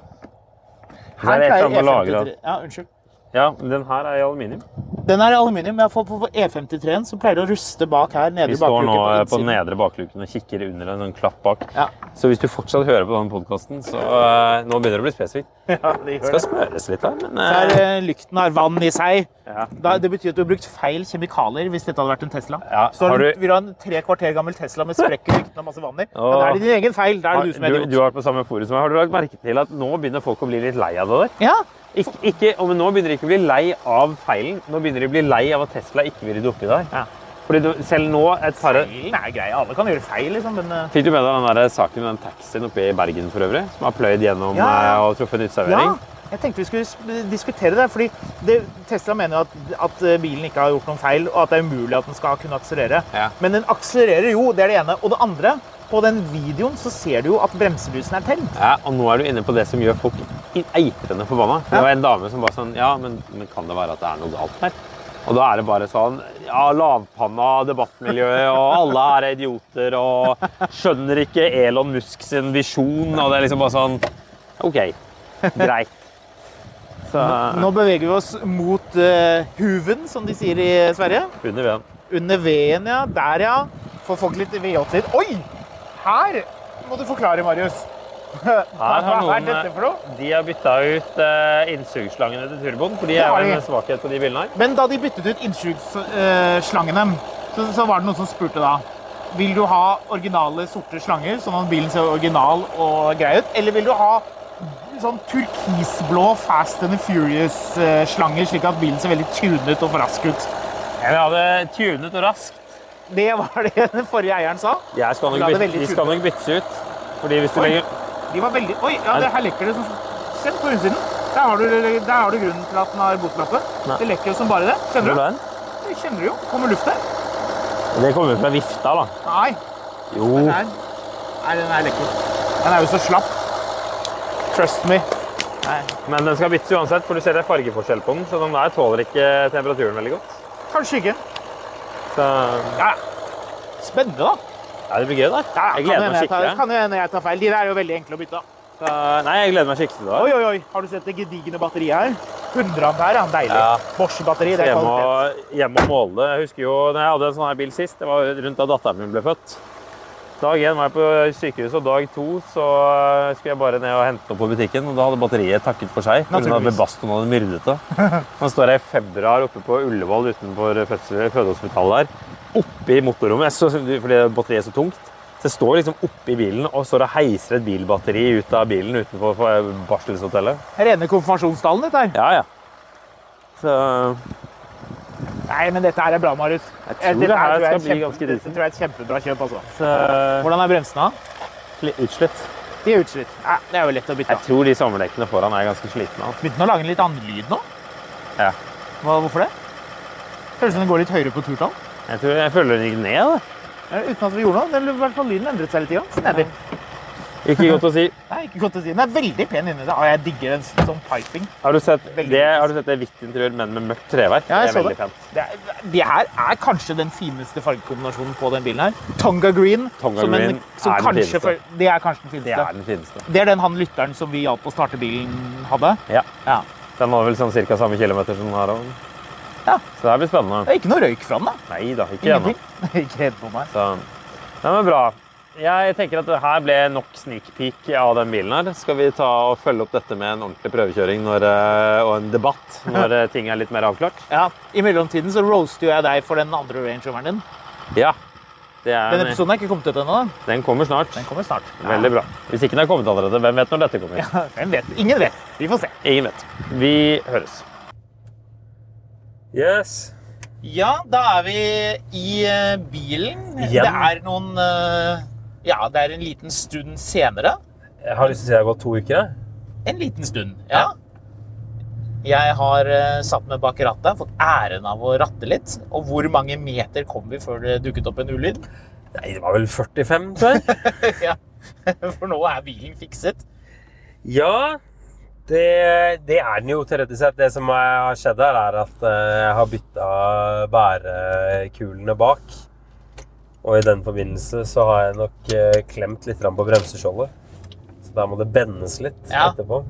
Speaker 1: Her er det et eller annet
Speaker 2: E
Speaker 1: å lagre.
Speaker 2: Ja, unnskyld.
Speaker 1: Ja, den her er i aluminium.
Speaker 2: Den er i aluminium, men jeg får på på E53-en så pleier det å ruste bak her. nede
Speaker 1: Vi
Speaker 2: i
Speaker 1: står nå eh,
Speaker 2: bakluken
Speaker 1: på
Speaker 2: innsiden.
Speaker 1: den nedre bakluken og kikker under en sånn klapp bak.
Speaker 2: Ja.
Speaker 1: Så hvis du fortsatt hører på denne podkasten, så eh, Nå begynner det å bli spesifikt.
Speaker 2: Ja,
Speaker 1: Det
Speaker 2: det gjør det.
Speaker 1: skal smøres litt her, men
Speaker 2: Så
Speaker 1: eh,
Speaker 2: er eh, lykten har vann i seg.
Speaker 1: Ja.
Speaker 2: Da, det betyr at du har brukt feil kjemikalier hvis dette hadde vært en Tesla.
Speaker 1: Ja,
Speaker 2: Så har
Speaker 1: har
Speaker 2: du,
Speaker 1: du-
Speaker 2: vil du ha en tre kvarter gammel Tesla med sprekk i lykten og masse vann i. Ja,
Speaker 1: Åh.
Speaker 2: da er det din egen feil. Da er
Speaker 1: har,
Speaker 2: det du som
Speaker 1: du,
Speaker 2: er
Speaker 1: du
Speaker 2: idiot.
Speaker 1: har vært på samme forum som meg. Har du lagt merke til at nå begynner folk å bli litt lei av det der?
Speaker 2: Ja,
Speaker 1: Ikke, ikke, og men nå begynner de ikke å bli lei av feilen. Nå begynner de å bli lei av at Tesla ikke vil rydde oppi der.
Speaker 2: Ja.
Speaker 1: Fordi du, selv nå et par,
Speaker 2: feilen er grei. Alle kan gjøre feil, liksom. Men eh,
Speaker 1: Fikk du med deg den der saken med den taxien oppe i Bergen for øvrig? Som har pløyd gjennom
Speaker 2: Ja, ja.
Speaker 1: eh, og truffet en uteservering?
Speaker 2: Ja, jeg tenkte vi skulle s- diskutere det. fordi det, Tesla mener jo at, at eh, bilen ikke har gjort noen feil, og at det er umulig at den skal kunne akselerere.
Speaker 1: Ja.
Speaker 2: Men den akselererer jo, det er det ene. Og det andre, på den videoen så ser du jo at bremselusen er tent.
Speaker 1: Ja, og nå er du inne på det som gjør folk i- eitrende forbanna. For
Speaker 2: Ja.
Speaker 1: Det var en dame som bare sånn Ja, men, men kan det være at det er noe galt her? Og da er det bare sånn Ja, lavpanna debattmiljøet, og alle er idioter, og skjønner ikke Elon Musk sin visjon, og det er liksom bare sånn OK. Greit. Så
Speaker 2: Nå beveger vi oss mot eh, huven, som de sier i Sverige.
Speaker 1: Under veden.
Speaker 2: Under veden, ja. Der, ja. Får folk litt V8 litt. Oi! Her må du forklare, Marius. Hva
Speaker 1: Her har
Speaker 2: hva er
Speaker 1: noen- eh,
Speaker 2: dette for noe?
Speaker 1: De har bytta ut eh, innsugslangene til turboen, for de
Speaker 2: Det
Speaker 1: er
Speaker 2: har
Speaker 1: jo
Speaker 2: de.
Speaker 1: en svakhet på de bilene her.
Speaker 2: Men da de byttet ut innsugsslangene, så, så var det noen som spurte da Vil du ha originale sorte slanger, sånn at bilen ser original og grei ut? Eller vil du ha sånn turkisblå Fast and the Furious-slanger, slik at bilen ser veldig tunet og rask ut?
Speaker 1: Jeg hadde tunet og raskt.
Speaker 2: Det var det den forrige eieren sa.
Speaker 1: Jeg skal
Speaker 2: La
Speaker 1: nok
Speaker 2: det
Speaker 1: bytte,
Speaker 2: veldig
Speaker 1: de skal
Speaker 2: tunet.
Speaker 1: nok byttes ut. Fordi hvis du
Speaker 2: Oi.
Speaker 1: legger
Speaker 2: De var veldig Oi, ja, det her lekker det som Kjenn på undersiden. Der har, du, der har du grunnen til at den har botlappet.
Speaker 1: Nei.
Speaker 2: Det lekker jo som bare det. Kjenner du?
Speaker 1: den?
Speaker 2: Det kjenner du jo. Kommer luft der?
Speaker 1: Det kommer fra vifta, da.
Speaker 2: Nei.
Speaker 1: Jo.
Speaker 2: Nei, nei, den er lekker. Den er jo så slapp. Trust me. Nei.
Speaker 1: Men den skal byttes uansett, for du ser det er fargeforskjell på den. Så den der tåler ikke temperaturen veldig godt.
Speaker 2: Kanskje ikke.
Speaker 1: Så
Speaker 2: Ja. Spennende, da.
Speaker 1: ja, det blir gøy, da.
Speaker 2: Ja,
Speaker 1: Jeg gleder meg
Speaker 2: kan hende jeg tar-
Speaker 1: skikkelig.
Speaker 2: Kan jo hende jeg tar feil. De der er jo veldig enkle å bytte. da.
Speaker 4: Så, nei, jeg gleder meg skikkelig til det.
Speaker 2: Oi, oi, oi. Har du sett det gedigne batteriet her? 100 ampere, ja. Deilig.
Speaker 4: Ja.
Speaker 2: Bosch-batteri, det er
Speaker 4: hjemme
Speaker 2: kvalitet.
Speaker 4: og, hjemme og måle det. Jeg husker jo når jeg hadde en sånn her bil sist, det var rundt da datteren min ble født. Dag én var jeg på sykehuset, og dag to så eh, skulle jeg bare ned og hente noe på butikken. Og da hadde batteriet takket for seg. Hun hadde
Speaker 2: Naturligvis.
Speaker 4: Baston hadde myrdet det. Nå står jeg i februar oppe på Ullevål utenfor fødsel- fødehospitalet der. Oppi motorrommet, jeg så, fordi batteriet er så tungt. Så jeg står liksom oppi bilen og står og heiser et bilbatteri ut av bilen utenfor for- barselshotellet.
Speaker 2: Rene konfirmasjonsstallen, dette her.
Speaker 4: Ja, ja. Så
Speaker 2: Nei, men dette her er bra, Marius.
Speaker 4: Jeg tror
Speaker 2: Eh,
Speaker 4: det
Speaker 2: dette
Speaker 4: her
Speaker 2: tror jeg er
Speaker 4: skal bli
Speaker 2: kjempe-
Speaker 4: ganske
Speaker 2: dette
Speaker 4: decent.
Speaker 2: tror jeg er et kjempebra kjøp, altså.
Speaker 4: så-
Speaker 2: Hvordan er bremsene?
Speaker 4: Litt utslitt.
Speaker 2: De er utslitt. Nei, det er jo lett å bytte.
Speaker 4: Jeg
Speaker 2: av.
Speaker 4: tror de sommerdekkene foran er ganske slitne. altså.
Speaker 2: Begynte den å lage en litt annen lyd nå?
Speaker 4: Ja.
Speaker 2: Hva, hvorfor det? Høres ut som den går litt høyere på turtall.
Speaker 4: Jeg, tror, jeg føler den gikk ned. da.
Speaker 2: Eh, Uten at vi gjorde noe. Den, i hvert fall lyden endret seg hele tida. Snedig.
Speaker 4: Ikke godt å si.
Speaker 2: Nei, ikke godt å si. Den er veldig pen inni det. Å, jeg digger den sånn piping.
Speaker 4: Har du sett
Speaker 2: Veldig
Speaker 4: det, har du sett det hvitt interiør, men med mørkt treverk?
Speaker 2: Ja,
Speaker 4: det
Speaker 2: jeg
Speaker 4: er
Speaker 2: så
Speaker 4: veldig
Speaker 2: det.
Speaker 4: pent.
Speaker 2: Det, er, det her er kanskje den fineste fargekombinasjonen på den bilen her. Tonga green.
Speaker 4: Tonga
Speaker 2: som en-
Speaker 4: green
Speaker 2: som
Speaker 4: er den
Speaker 2: kanskje
Speaker 4: fineste.
Speaker 2: for- Det er kanskje den fineste.
Speaker 4: Det er den fineste.
Speaker 2: Det er den han lytteren som vi hjalp å starte bilen, hadde.
Speaker 4: Ja.
Speaker 2: Ja.
Speaker 4: Den har vel sånn cirka samme kilometer som den har. også.
Speaker 2: Ja.
Speaker 4: Så det her blir spennende.
Speaker 2: Det er ikke noe røyk fra den, da.
Speaker 4: Nei da, ikke ennå.
Speaker 2: Ingenting. Ikke helt på meg.
Speaker 4: Så Nei, men bra. Jeg tenker at det her ble nok sneak peek av den bilen her. Skal vi ta og følge opp dette med en ordentlig prøvekjøring når, eh, og en debatt når eh, ting er litt mer avklart?
Speaker 2: Ja, I mellomtiden så roaster jo jeg deg for den andre Range Roveren din.
Speaker 4: Ja. Det er,
Speaker 2: Den episoden er ikke kommet ut ennå. da.
Speaker 4: den kommer snart.
Speaker 2: Den kommer snart.
Speaker 4: Veldig bra. Hvis ikke den har kommet allerede, hvem vet når dette kommer?
Speaker 2: Ja, Hvem vet? Ingen vet. Vi får se.
Speaker 4: Ingen vet. Vi høres. Yes.
Speaker 2: Ja, da er vi i eh, bilen.
Speaker 4: Igjen.
Speaker 2: Det er noen eh, Ja, det er en liten stund senere.
Speaker 4: Jeg har lyst til å si at det har gått to uker. jeg.
Speaker 2: En liten stund, ja. Jeg har eh, satt meg bak rattet, fått æren av å ratte litt. Og hvor mange meter kom vi før det dukket opp en ulyd?
Speaker 4: Nei, det var vel 45, tror jeg.
Speaker 2: ja. For nå er bilen fikset.
Speaker 1: Ja, det, det er den jo teoretisk sett. Det som er- har skjedd her, er at eh, jeg har bytta bærekulene bak. Og i den forbindelse så har jeg nok eh, klemt litt grann på bremseskjoldet. Så der må det bendes litt
Speaker 2: Ja.
Speaker 1: etterpå.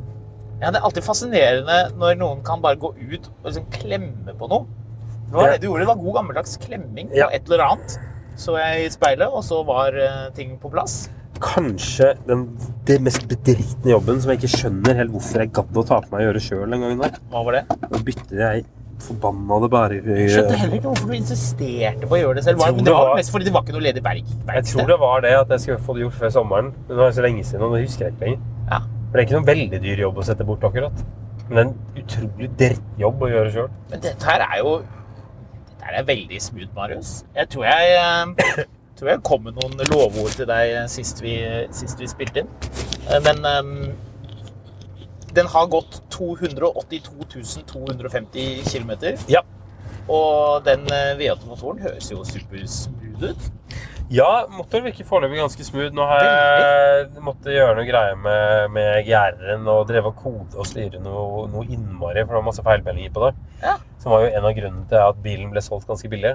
Speaker 2: Ja, det er alltid fascinerende når noen kan bare gå ut og liksom klemme på noe. Det var
Speaker 1: Ja.
Speaker 2: det du gjorde. Det var god gammeldags klemming på
Speaker 1: Ja.
Speaker 2: et eller annet. Så jeg i speilet, og så var eh, ting på plass.
Speaker 1: Kanskje den, det mest bedritne jobben som jeg ikke skjønner helt hvorfor jeg gadd å ta på meg å gjøre sjøl den gangen der.
Speaker 2: Hva var det?
Speaker 1: Å bytte de forbannede
Speaker 2: Jeg skjønte
Speaker 1: bærekulene.
Speaker 2: heller ikke hvorfor du insisterte på å gjøre det selv.
Speaker 1: Jeg
Speaker 2: Var,
Speaker 1: tror
Speaker 2: men
Speaker 1: det
Speaker 2: det var
Speaker 1: var-
Speaker 2: mest fordi det var ikke noe ledig berg.
Speaker 1: Jeg tror det var det at jeg skulle få det gjort før sommeren. Men det var jo så lenge siden, og det husker jeg ikke lenger.
Speaker 2: Ja.
Speaker 1: For det er ikke noen veldig dyr jobb å sette bort akkurat. Men det er en utrolig drittjobb å gjøre sjøl.
Speaker 2: Men dette her er jo Dette her er veldig smooth, Marius. Jeg tror jeg, eh, tror jeg kom med noen lovord til deg eh, sist vi, sist vi spilte inn. Eh, Men eh, den har gått 282 250 km.
Speaker 1: Ja.
Speaker 2: Og den eh, V8-motoren høres jo supersmooth ut.
Speaker 1: ja, motoren virker foreløpig ganske smooth. Nå har jeg måtte gjøre noe greier med, med GR-en og drev og kode og styre noe, noe innmari, for det var masse feilmeldinger på det.
Speaker 2: Ja.
Speaker 1: Som var jo en av grunnene til at bilen ble solgt ganske billig.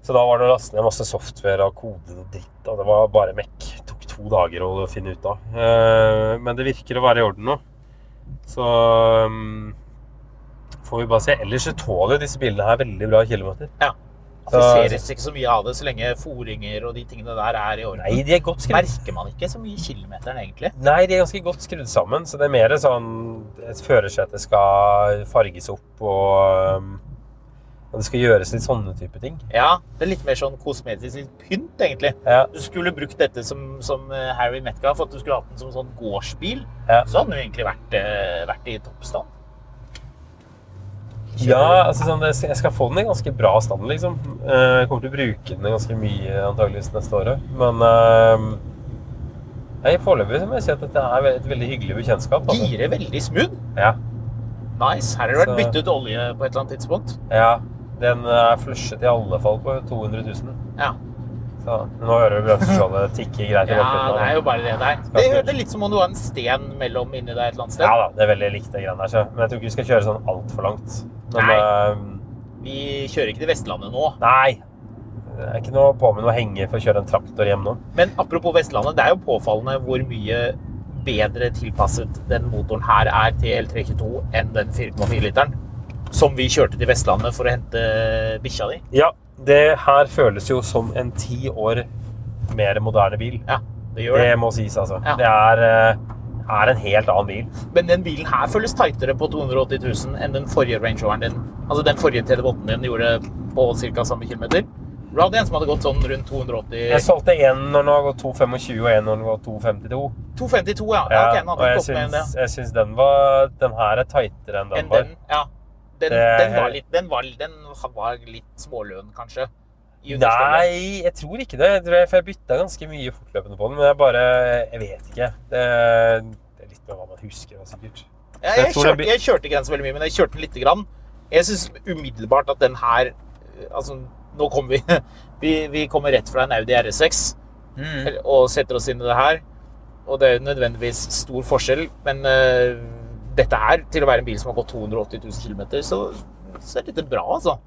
Speaker 1: Så da var det å laste ned masse software og kode og dritt, og det var bare mekk. Det tok to dager å finne ut av. Eh, Men det virker å være i orden nå. Så mm, får vi bare se. Ellers så tåler jo disse bilene her veldig bra kilometer.
Speaker 2: Ja. Det
Speaker 1: Så-
Speaker 2: ser ikke så mye av det så lenge foringer og de tingene der er i orden.
Speaker 1: Nei, de er godt skrudd.
Speaker 2: Merker man ikke så mye kilometeren, egentlig?
Speaker 1: Nei, de er ganske godt skrudd sammen, så det er mer sånn et førersete skal farges opp og um, og det skal gjøres litt sånne type ting.
Speaker 2: Ja, det er litt mer sånn kosmetisk litt pynt, egentlig.
Speaker 1: Ja.
Speaker 2: Du skulle brukt dette som, som eh, Harry Metcalf, at du skulle hatt den som sånn gårdsbil.
Speaker 1: Ja.
Speaker 2: Så hadde den jo egentlig vært, eh, vært i toppstand.
Speaker 1: Ja, altså sånn, det- jeg skal få den i ganske bra stand, liksom. Eh, Jeg kommer til å bruke den ganske mye antageligvis neste året. Men eh, nei, foreløpig så må jeg si at dette er et veldig hyggelig bekjentskap. Altså.
Speaker 2: Girer veldig smooth.
Speaker 1: Ja,
Speaker 2: Nice. Her har det vært
Speaker 1: Så-
Speaker 2: byttet olje på et eller annet tidspunkt.
Speaker 1: ja. Den eh, er flushet i alle fall på 200 000.
Speaker 2: Ja,
Speaker 1: Så, men nå hører du bremseskjoldet tikke greit i
Speaker 2: ja
Speaker 1: bakgrunnen.
Speaker 2: det er jo bare det der. Det
Speaker 1: smooth.
Speaker 2: høres litt som om du har en sten mellom inni deg et eller annet sted.
Speaker 1: Ja da, det er veldig likt det greiene der. så- Men jeg tror ikke vi skal kjøre sånn altfor langt. Men,
Speaker 2: Nei.
Speaker 1: eh,
Speaker 2: Vi kjører ikke til Vestlandet nå.
Speaker 1: nei. Det er ikke noe på med noe henge for å kjøre en traktor hjem nå.
Speaker 2: Men apropos Vestlandet, det er jo påfallende hvor mye bedre tilpasset den motoren her er til L322 enn den 4,4-literen som vi kjørte til Vestlandet for å hente bikkja di.
Speaker 1: Ja, det her føles jo som en ti år mer moderne bil.
Speaker 2: Ja, det gjør
Speaker 1: Det
Speaker 2: det.
Speaker 1: må sies, altså.
Speaker 2: Ja.
Speaker 1: Det er, eh, er en helt annen bil.
Speaker 2: Men den bilen her føles tightere på 280 000 enn den forrige Range Roveren din. Altså den forrige TV8-en din gjorde på ca. samme kilometer. Du hadde en som hadde gått sånn rundt 280
Speaker 1: Jeg solgte én når den har gått 2,25 og én når den har gått 2,52.
Speaker 2: 252, ja. ja,
Speaker 1: Ja,
Speaker 2: ok, den
Speaker 1: og
Speaker 2: hadde
Speaker 1: jeg
Speaker 2: gått ned enn det.
Speaker 1: syns, jeg syns den, var, den her er tightere enn den
Speaker 2: enn
Speaker 1: var.
Speaker 2: den. Ja. Den,
Speaker 1: Det er
Speaker 2: den, var
Speaker 1: helt-
Speaker 2: litt, den, var, den var litt småløn, kanskje. i understellet.
Speaker 1: Nei, jeg tror ikke det. Jeg tror jeg, for jeg bytta ganske mye fortløpende på den. Men jeg bare Jeg vet ikke. Det, det er litt med hva man husker, da, sikkert.
Speaker 2: Ja,
Speaker 1: Jeg
Speaker 2: jeg,
Speaker 1: tror det
Speaker 2: kjørte,
Speaker 1: blir-
Speaker 2: jeg kjørte ikke den så veldig mye, men jeg kjørte den lite grann. Jeg syns umiddelbart at den her eh, Altså, nå kommer vi Vi, vi kommer rett fra en Audi RS6
Speaker 1: Mm.
Speaker 2: og setter oss inn i det her. Og det er jo nødvendigvis stor forskjell, men eh, dette her, til å være en bil som har gått 280 000 km, så, så er dette bra, altså.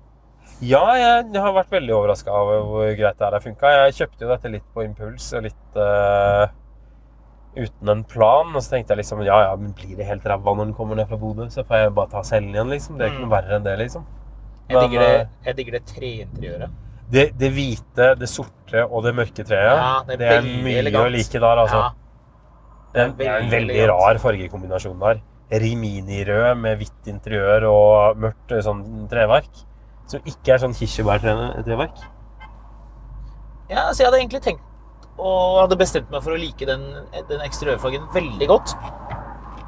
Speaker 1: Ja, jeg har vært veldig overraska over hvor greit det her har funka. Jeg kjøpte jo dette litt på impuls og litt eh, uten en plan. Og så tenkte jeg liksom ja, ja, men blir det helt ræva når den kommer ned fra Bodø, så får jeg bare ta cellen igjen, liksom. Det er
Speaker 2: Mm.
Speaker 1: ikke noe verre enn det, liksom.
Speaker 2: Jeg
Speaker 1: Men,
Speaker 2: digger det,
Speaker 1: eh,
Speaker 2: jeg digger det treinteriøret.
Speaker 1: Det, det hvite, det sorte og det mørke treet,
Speaker 2: Ja, det er
Speaker 1: det er
Speaker 2: veldig
Speaker 1: mye
Speaker 2: elegant.
Speaker 1: å like der, altså.
Speaker 2: Ja.
Speaker 1: Det er en det er en
Speaker 2: Veldig
Speaker 1: veldig
Speaker 2: elegant.
Speaker 1: rar fargekombinasjon der. Rimini-rød med hvitt interiør og mørkt eh, sånn treverk. Som ikke er sånn kirsebærtreverk.
Speaker 2: Ja, så jeg hadde egentlig tenkt og hadde bestemt meg for å like den, den eksteriørfargen veldig godt.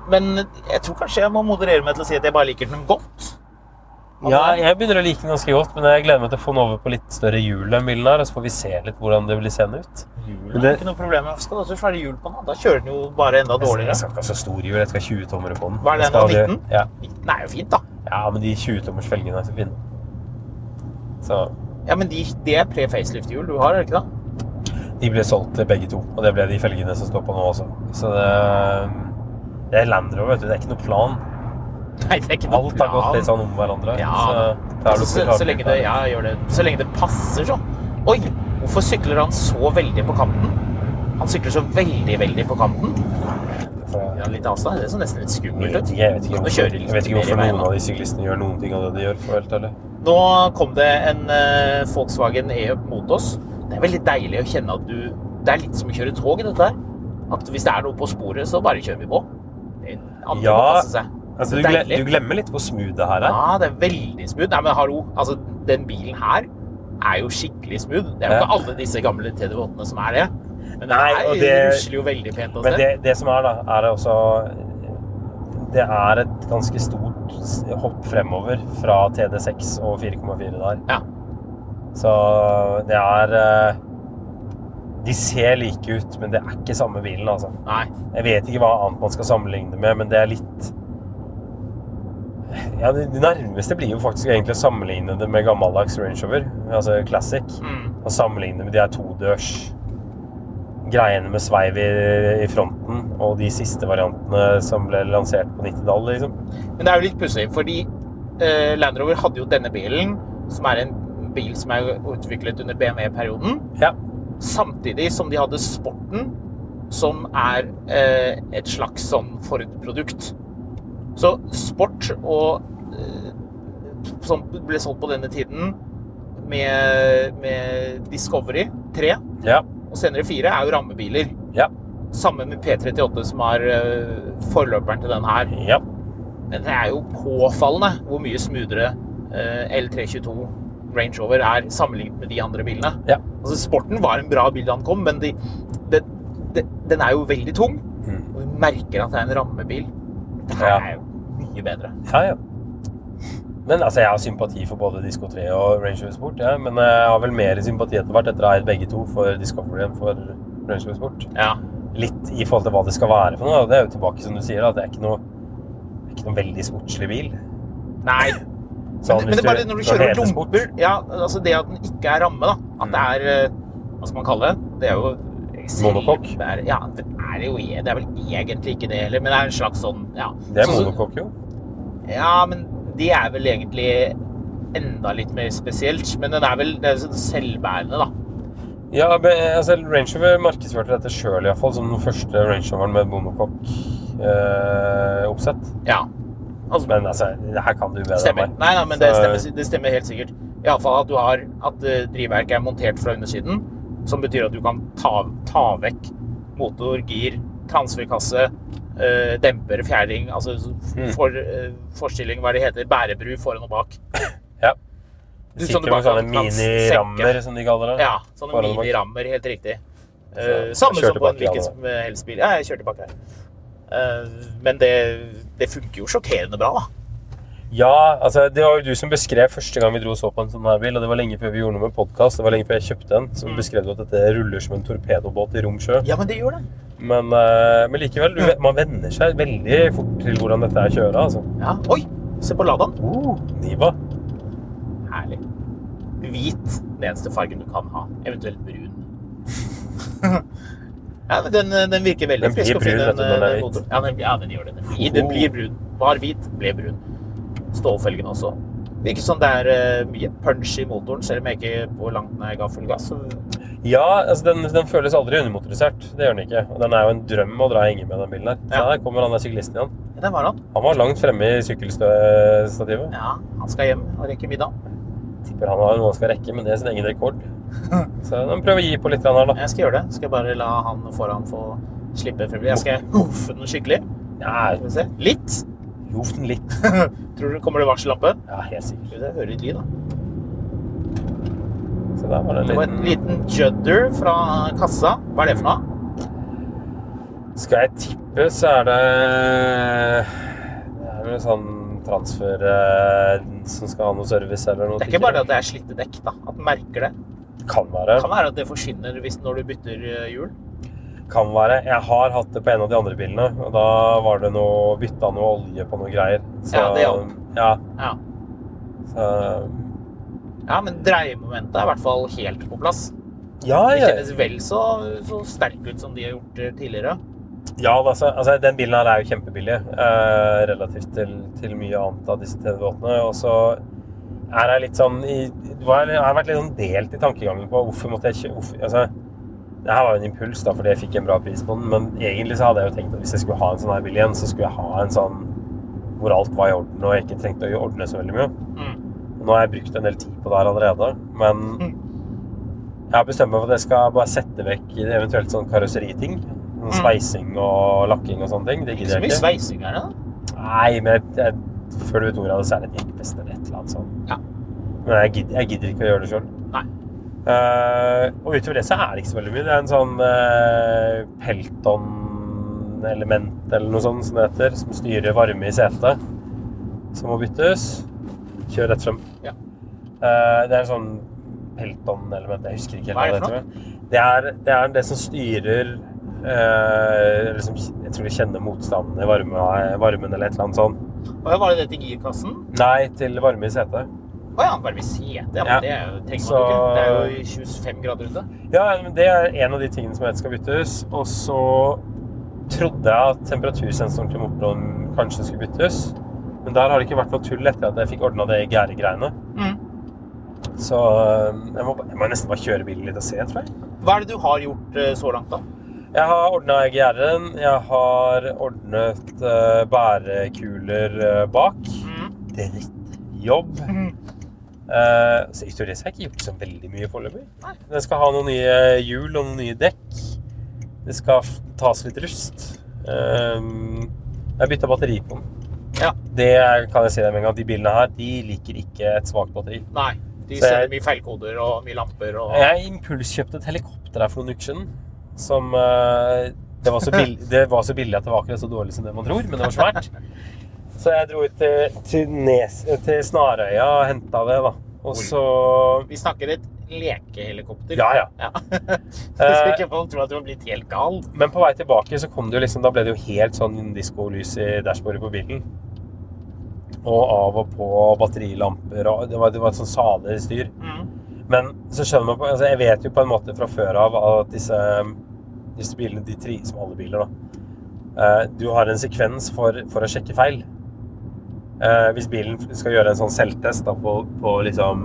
Speaker 2: Men jeg tror kanskje jeg må moderere meg til å si at jeg bare liker den godt.
Speaker 1: Ja, jeg begynner å like den ganske godt, men jeg gleder meg til å få den over på litt større hjul enn bilen her, og så får vi se litt hvordan det blir seende ut.
Speaker 2: Hjulet
Speaker 1: Men
Speaker 2: er
Speaker 1: det-
Speaker 2: ikke noe problem. Hvorfor Skal du ha så svære hjul på den? da? Da kjører den jo bare enda
Speaker 1: Jeg
Speaker 2: dårligere.
Speaker 1: skal ikke ha så stor hjul, jeg skal ha 20 tommere på den.
Speaker 2: Hva er
Speaker 1: Jeg
Speaker 2: den, da?
Speaker 1: skal ha de-
Speaker 2: 19?
Speaker 1: Ja.
Speaker 2: Den er jo fint, da.
Speaker 1: ja, men de 20-tommers felgene er så fine. Så
Speaker 2: Ja, men de, det er pre-facelift-hjul du har, er det ikke det?
Speaker 1: de ble solgt til begge to, og det ble de felgene som står på nå også. Så det, det er Land Rover, vet du. Det er ikke noe plan.
Speaker 2: Nei, det er ikke noe
Speaker 1: Alt har gått
Speaker 2: plan.
Speaker 1: litt sånn om hverandre.
Speaker 2: Ja. Altså,
Speaker 1: Så, da er
Speaker 2: Så,
Speaker 1: det
Speaker 2: så,
Speaker 1: opp til
Speaker 2: så, lenge det, ja, jeg gjør det. så lenge det passer, så. Oi, hvorfor sykler han så veldig på kanten? Han sykler så veldig, veldig på kanten.
Speaker 1: Så-
Speaker 2: Ja, litt avstand. Det er så nesten litt
Speaker 1: Jeg
Speaker 2: skummelt
Speaker 1: vet
Speaker 2: ut.
Speaker 1: ikke, jeg vet ikke
Speaker 2: Kan du
Speaker 1: hvorfor,
Speaker 2: kjøre
Speaker 1: jeg
Speaker 2: litt
Speaker 1: vet ikke
Speaker 2: mer i
Speaker 1: hvorfor
Speaker 2: veien,
Speaker 1: noen
Speaker 2: da?
Speaker 1: av de syklistene gjør noen ting av det de gjør. For å være helt ærlig.
Speaker 2: Nå kom det en eh, Volkswagen E-Up mot oss. Det er veldig deilig å kjenne at du Det er litt som å kjøre tog, dette her. At hvis det er noe på sporet, så bare kjører vi på. Det er- Andre
Speaker 1: Ja,
Speaker 2: må passe seg.
Speaker 1: Altså,
Speaker 2: Så
Speaker 1: du, gle,
Speaker 2: deilig.
Speaker 1: du glemmer litt hvor smooth det her er.
Speaker 2: Ja, det er veldig smooth. Nei, men hallo, altså, den bilen her er jo skikkelig smooth. Det er jo
Speaker 1: Ja.
Speaker 2: ikke alle disse gamle TD8-ene som er det. Men den
Speaker 1: Nei,
Speaker 2: her
Speaker 1: og det-
Speaker 2: rusler jo veldig pent altså. av
Speaker 1: Men
Speaker 2: sted.
Speaker 1: det, det som er, da, er det også Det er et ganske stort s- hopp fremover fra TD6 og 4,4 der.
Speaker 2: Ja.
Speaker 1: Så det er eh, De ser like ut, men det er ikke samme bilen, altså.
Speaker 2: Nei.
Speaker 1: Jeg vet ikke hva annet man skal sammenligne med, men det er litt Ja, det det nærmeste blir jo faktisk egentlig å sammenligne det med gammeldags Range Rover, altså Classic.
Speaker 2: Mm.
Speaker 1: Og sammenligne med de her todørs greiene med sveiv i, i fronten og de siste variantene som ble lansert på 90-tallet, liksom.
Speaker 2: Men det er jo litt pussig, fordi eh, Land Rover hadde jo denne bilen, som er en bil som er utviklet under BMW-perioden,
Speaker 1: Ja.
Speaker 2: samtidig som de hadde Sporten, som er eh, et slags sånn Ford-produkt. Så Sport og eh, som ble solgt på denne tiden med, med Discovery 3
Speaker 1: Ja.
Speaker 2: og senere 4, er jo rammebiler.
Speaker 1: Ja.
Speaker 2: Samme med P38, som er eh, forløperen til den her.
Speaker 1: ja.
Speaker 2: Men det er jo påfallende hvor mye smoothere eh, L322 Range Rover er sammenlignet med de andre bilene.
Speaker 1: Ja.
Speaker 2: Altså, sporten var en bra bil da den kom, men de, det- det- den er jo veldig tung. Og du merker at det er en rammebil. Det
Speaker 1: Mm.
Speaker 2: her
Speaker 1: Ja.
Speaker 2: er jo mye bedre.
Speaker 1: Ja, ja. Men altså, jeg har sympati for både Disco 3 og Range Rover Sport, ja. men jeg har vel mer sympati etter hvert etter å ha eid begge to for Discovery enn for Range Rover Sport.
Speaker 2: Ja.
Speaker 1: Litt i forhold til hva det skal være for noe, og det er jo tilbake som du sier, da. det er ikke noe, det er ikke noe veldig sportslig bil.
Speaker 2: Nei,
Speaker 1: Sånn,
Speaker 2: men, men det er
Speaker 1: hvis
Speaker 2: bare når du kjører og
Speaker 1: heter sport. Mm.
Speaker 2: dumper ja, altså Det at den ikke er ramme, da. At det er eh, Hva skal man kalle det? Det er jo
Speaker 1: Monokokk?
Speaker 2: Det er- Ja, det er jo e- Det er vel egentlig ikke det heller, men det er en slags sånn ja.
Speaker 1: Det er
Speaker 2: Sånn som-
Speaker 1: monokokk, jo.
Speaker 2: Ja, men de er vel egentlig enda litt mer spesielt. Men den er vel det er sånn selvbærende, da.
Speaker 1: Ja, men, altså, Range Rover markedsførte dette sjøl, iallfall. Som den første Range Roveren med monokokk-oppsett.
Speaker 2: Ja, altså-
Speaker 1: men altså, det her kan du bedre
Speaker 2: stemmer.
Speaker 1: enn meg.
Speaker 2: Nei, nei, men det
Speaker 1: Så-
Speaker 2: stemmer, det stemmer helt sikkert. Iallfall at du har at eh, drivverket er montert fra undersiden, som betyr at du kan ta, ta vekk motor, gir, transferkasse, eh, demper, fjæring, altså
Speaker 1: Mm.
Speaker 2: f- for, eh, forstilling, hva er det heter, bærebru foran og bak.
Speaker 1: Ja.
Speaker 2: Du,
Speaker 1: Det
Speaker 2: som sånn
Speaker 1: sitter
Speaker 2: du bare
Speaker 1: med sånne
Speaker 2: kan- kan
Speaker 1: minirammer,
Speaker 2: senke.
Speaker 1: som de kaller det.
Speaker 2: Ja, sånne
Speaker 1: Foran og bak.
Speaker 2: minirammer, helt riktig. Eh,
Speaker 1: Så,
Speaker 2: samme
Speaker 1: jeg
Speaker 2: som
Speaker 1: kjørte
Speaker 2: på en
Speaker 1: bak i alle.
Speaker 2: hvilken som helst bil. Ja, jeg kjørte bak her. Eh, men det, det funker jo sjokkerende bra, da.
Speaker 1: Ja, altså det var jo du som beskrev første gang vi dro og så på en sånn her bil, og det var lenge før vi gjorde noe med podkast, det var lenge før jeg kjøpte en,
Speaker 2: Mm.
Speaker 1: som beskrev du at dette ruller som en torpedobåt i rom sjø.
Speaker 2: Ja, men det gjør det.
Speaker 1: Men, eh, men likevel, du, vet- man venner seg veldig fort til hvordan dette er kjøret, altså.
Speaker 2: Ja. Oi, se på Ladaen.
Speaker 1: Uh. Niva.
Speaker 2: Herlig. Hvit, den eneste fargen du kan ha. Eventuelt brun. ja, men den, eh, den virker veldig
Speaker 1: Den blir
Speaker 2: frisk og fin,
Speaker 1: brun, vet du, når den er hvit.
Speaker 2: motoren. Ja, den, ja, den gjør det. Den blir, den blir brun. Var hvit, ble brun. Stålfelgen også. Virker som det er eh, mye punch i motoren, selv om jeg ikke på langt nær ga full gass. så-
Speaker 1: Ja, altså den, den føles aldri undermotorisert. Det gjør den ikke. Og den er jo en drøm å dra i enge med den bilen her. Se,
Speaker 2: Ja.
Speaker 1: der kommer han der syklisten igjen.
Speaker 2: Men det var han.
Speaker 1: Han var langt fremme i sykkelstativet.
Speaker 2: Ja, han skal hjem og rekke middag.
Speaker 1: Tipper han har noe han skal rekke, men det er sin egen rekord. Så den prøver å gi på litt grann her, da.
Speaker 2: Jeg skal gjøre det. Skal bare la han foran få slippe frem. Jeg skal hoffe den skikkelig.
Speaker 1: Ja,
Speaker 2: Skal vi se. Litt.
Speaker 1: jof den litt.
Speaker 2: Tror du kommer det varsellampe?
Speaker 1: Ja, helt sikkert.
Speaker 2: Skal vi se, høre litt lyd, da.
Speaker 1: Så der var det en
Speaker 2: Det var en
Speaker 1: liten
Speaker 2: liten judder fra kassa. Hva er det for noe?
Speaker 1: Skal jeg tippe, så er det Det er vel sånn transfer eh, som skal ha noe service eller noe.
Speaker 2: Det er ikke bare det at det er slitte dekk, da. At den merker det.
Speaker 1: det kan være.
Speaker 2: Det kan være at det forsvinner hvis, når du bytter eh, hjul.
Speaker 1: Kan være. Jeg har hatt det på en av de andre bilene, og da var det noe bytta noe olje på noe greier.
Speaker 2: Ja, det hjalp.
Speaker 1: Ja,
Speaker 2: Ja.
Speaker 1: så,
Speaker 2: ja, men dreiemomentet er i hvert fall helt på plass.
Speaker 1: ja,
Speaker 2: Det
Speaker 1: ja,
Speaker 2: kjennes vel så, så sterk ut som de har gjort eh, tidligere.
Speaker 1: ja altså, altså, den bilen her er jo kjempebillig eh, relativt til, til mye annet av disse TV-båtene. Og så er jeg litt sånn i, det var- Jeg har vært litt sånn delt i tankegangen på hvorfor måtte jeg kjø- hvorfor, altså, Det her var jo en impuls da, fordi jeg fikk en bra pris på den, men egentlig så hadde jeg jo tenkt at hvis jeg skulle ha en sånn her bil igjen, så skulle jeg ha en sånn hvor alt var i orden og jeg ikke trengte å ordne så veldig mye.
Speaker 2: Mm.
Speaker 1: Nå har jeg brukt en del tid på det her allerede, men jeg har bestemt meg for at jeg skal bare sette vekk i det eventuelt sånn karosseriting. Sånn sveising og lakking og sånne ting. Det
Speaker 2: Mm. Ikke så
Speaker 1: gidder
Speaker 2: mye
Speaker 1: jeg ikke.
Speaker 2: sveising her, da.
Speaker 1: Nei, men jeg, jeg, før du vet ordet av det, så er det et jekkfest eller et eller annet sånt.
Speaker 2: Ja.
Speaker 1: Men jeg gidder, jeg gidder ikke å gjøre det sjøl.
Speaker 2: Nei.
Speaker 1: Eh, og utover det så er det ikke så veldig mye. Det er en sånn eh, Pelton-element eller noe sånt som det heter, som styrer varme i setet, som må byttes. Kjør rett frem.
Speaker 2: Ja.
Speaker 1: Eh, det er en sånn Pelton-element Jeg husker ikke helt
Speaker 2: Hva er det
Speaker 1: det
Speaker 2: for noe?
Speaker 1: heter. Det er, det er det som styrer eh, eller som, Jeg tror det kjenner motstanden i varme, eh, varmen eller et eller annet sånt.
Speaker 2: Og ja, var det det til girkassen?
Speaker 1: Nei, til varme i setet.
Speaker 2: Å ja, bare ved setet. Ja,
Speaker 1: Ja.
Speaker 2: men det er jo- trenger man
Speaker 1: Så-
Speaker 2: ikke. Det er jo i 25 grader ute.
Speaker 1: Ja, men det er en av de tingene som jeg vet skal byttes. Og så trodde jeg at temperatursensoren til motoren kanskje skulle byttes. Men der har det ikke vært noe tull etter at jeg fikk ordna det gæregreiene.
Speaker 2: Mm.
Speaker 1: Så øhm, jeg må, ba- jeg må nesten bare kjøre bilen litt og se, tror jeg.
Speaker 2: Hva er det du har gjort eh, så langt, da?
Speaker 1: Jeg har ordna gr-en. Jeg har ordnet øh, bærekuler øh, bak. Drittjobb. Eh, så utover det så har jeg ikke gjort så veldig mye foreløpig. Den skal ha noen nye hjul og noen nye dekk. Det skal f- tas litt rust. Ehm, jeg bytta batteri på den.
Speaker 2: Ja.
Speaker 1: Det er- kan jeg si deg med en gang. De bilene her de liker ikke et svakt batteri.
Speaker 2: Nei. De
Speaker 1: Så
Speaker 2: sender
Speaker 1: jeg-
Speaker 2: mye feilkoder og mye lamper og
Speaker 1: Jeg impulskjøpte et helikopter her for noen uker siden. Som eh, det, var så billig, det var så billig at det var akkurat så dårlig som det man tror, men det var svært. Så jeg dro ut til, til, Nes, til Snarøya og henta det, da. Og så
Speaker 2: Vi snakker et lekehelikopter.
Speaker 1: Ja, ja.
Speaker 2: Hvis vi ikke folk tror at du har blitt helt gal.
Speaker 1: Men på vei tilbake så kom det jo liksom Da ble det jo helt sånn diskolys i dashbordet på bilen. Og av og på batterilamper og Det var, det var et sånn salig styr. Men så skjønner man på, altså Jeg vet jo på en måte fra før av at disse, disse bilene De trives med alle biler, da. Eh, Du har en sekvens for, for å sjekke feil. Eh, Hvis bilen skal gjøre en sånn selvtest da, på, på liksom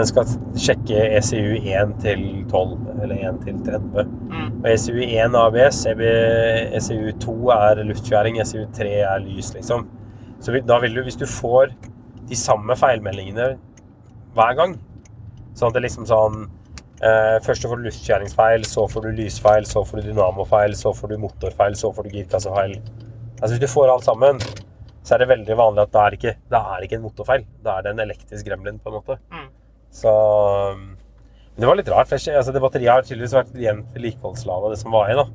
Speaker 1: Den skal sjekke E ECU 1 til 12, eller 1 til 30. Og ECU 1 ABS, EB- ECU 2 er luftfjæring, ECU 3 er lys, liksom. Så vil- da vil du, hvis du får de samme feilmeldingene hver gang, sånn at det liksom sånn eh, Først så får du luftfjæringsfeil, så får du lysfeil, så får du dynamofeil, så får du motorfeil, så får du girkassefeil. Altså Hvis du får alt sammen, så er det veldig vanlig at da er det ikke, da er det ikke en motorfeil. Da er det en elektrisk gremlin, på en måte. Så um, Men det var litt rart. for jeg skj- altså, det Batteriet har tydeligvis vært jevnt vedlikeholdslava, det som var i. da.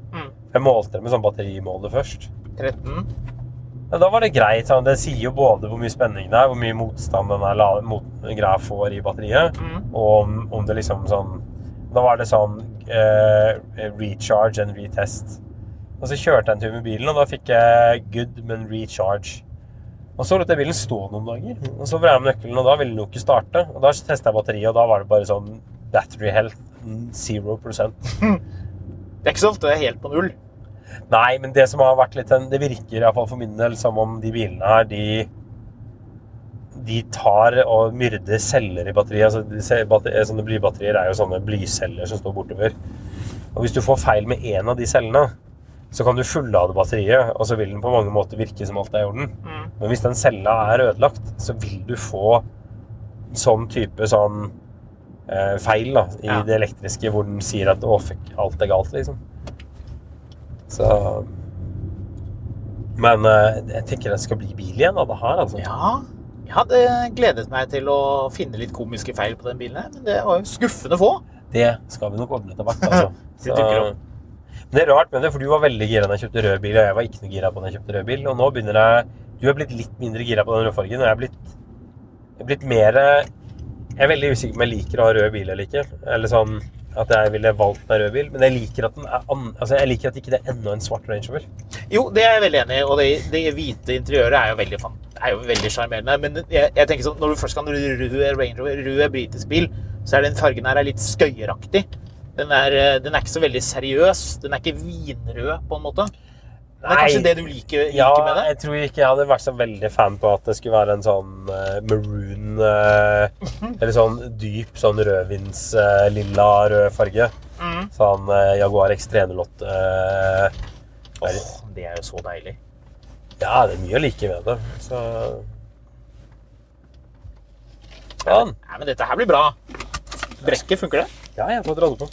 Speaker 1: Jeg målte det med sånn batterimåler først.
Speaker 2: 13.
Speaker 1: Ja, da var det greit. Sånn. Det sier jo både hvor mye spenning det er, hvor mye motstand den her la- mot, greia får i batteriet, og om, om det liksom sånn Da var det sånn eh, recharge and retest. Og så kjørte jeg en tur med bilen, og da fikk jeg good, men recharge. Og så lot jeg bilen stå noen dager, og så vrei jeg med nøkkelen, og da ville den jo ikke starte. Og da testa jeg batteriet, og da var det bare sånn battery health mm, zero percent.
Speaker 2: Det er ikke så ofte det er helt på null.
Speaker 1: Nei, men det som har vært litt en- Det virker i hvert fall for min del som om de bilene her, de De tar og myrder celler i batteriet. Altså, de se- batter- eh, sånne blybatterier er jo sånne blyceller som står bortover. Og hvis du får feil med én av de cellene, så kan du fullade batteriet, og så vil den på mange måter virke som alt er i orden. Men hvis den cella er ødelagt, så vil du få sånn type sånn eh, feil da, i
Speaker 2: Ja.
Speaker 1: det elektriske, hvor den sier at 'å, fuck, alt er galt', liksom. Så Men eh, jeg tenker det skal bli bil igjen av det her, altså.
Speaker 2: Ja, jeg hadde gledet meg til å finne litt komiske feil på den bilen, her, men det var jo skuffende få.
Speaker 1: Det skal vi nok ordne etter hvert, altså.
Speaker 2: Det dukker opp.
Speaker 1: Men det er rart med det, for du var veldig gira da jeg kjøpte rød bil, og jeg var ikke noe gira på da jeg kjøpte rød bil. Og nå begynner jeg Du er blitt litt mindre gira på den rødfargen, og jeg er blitt, jeg er blitt mer Jeg er veldig usikker på om jeg liker å ha rød bil eller ikke. Eller sånn at jeg ville valgt meg rød bil, men jeg liker at den er an, altså jeg liker at ikke det er enda en svart Range Rover.
Speaker 2: Jo, det er jeg veldig enig i, og det, det hvite interiøret er jo veldig fan- er jo veldig sjarmerende. Men jeg, jeg tenker sånn, når du først kan rød Range Rover, rød britisk bil, så er den fargen her er litt skøyeraktig. Den er, eh, den er ikke så veldig seriøs. Den er ikke vinrød, på en måte. Det er kanskje det du liker, liker
Speaker 1: ja,
Speaker 2: med det?
Speaker 1: jeg tror ikke jeg hadde vært så veldig fan på at det skulle være en sånn eh, maroon eh, Eller sånn dyp sånn rødvinslilla rød farge.
Speaker 2: Mm.
Speaker 1: Sånn eh, Jaguar X308 eh, er-
Speaker 2: Åh, det er jo så deilig.
Speaker 1: Ja, det er mye å like ved det. Så Sånn.
Speaker 2: Nei, men dette her blir bra. Brekket, funker det?
Speaker 1: Ja, jeg får dra det på.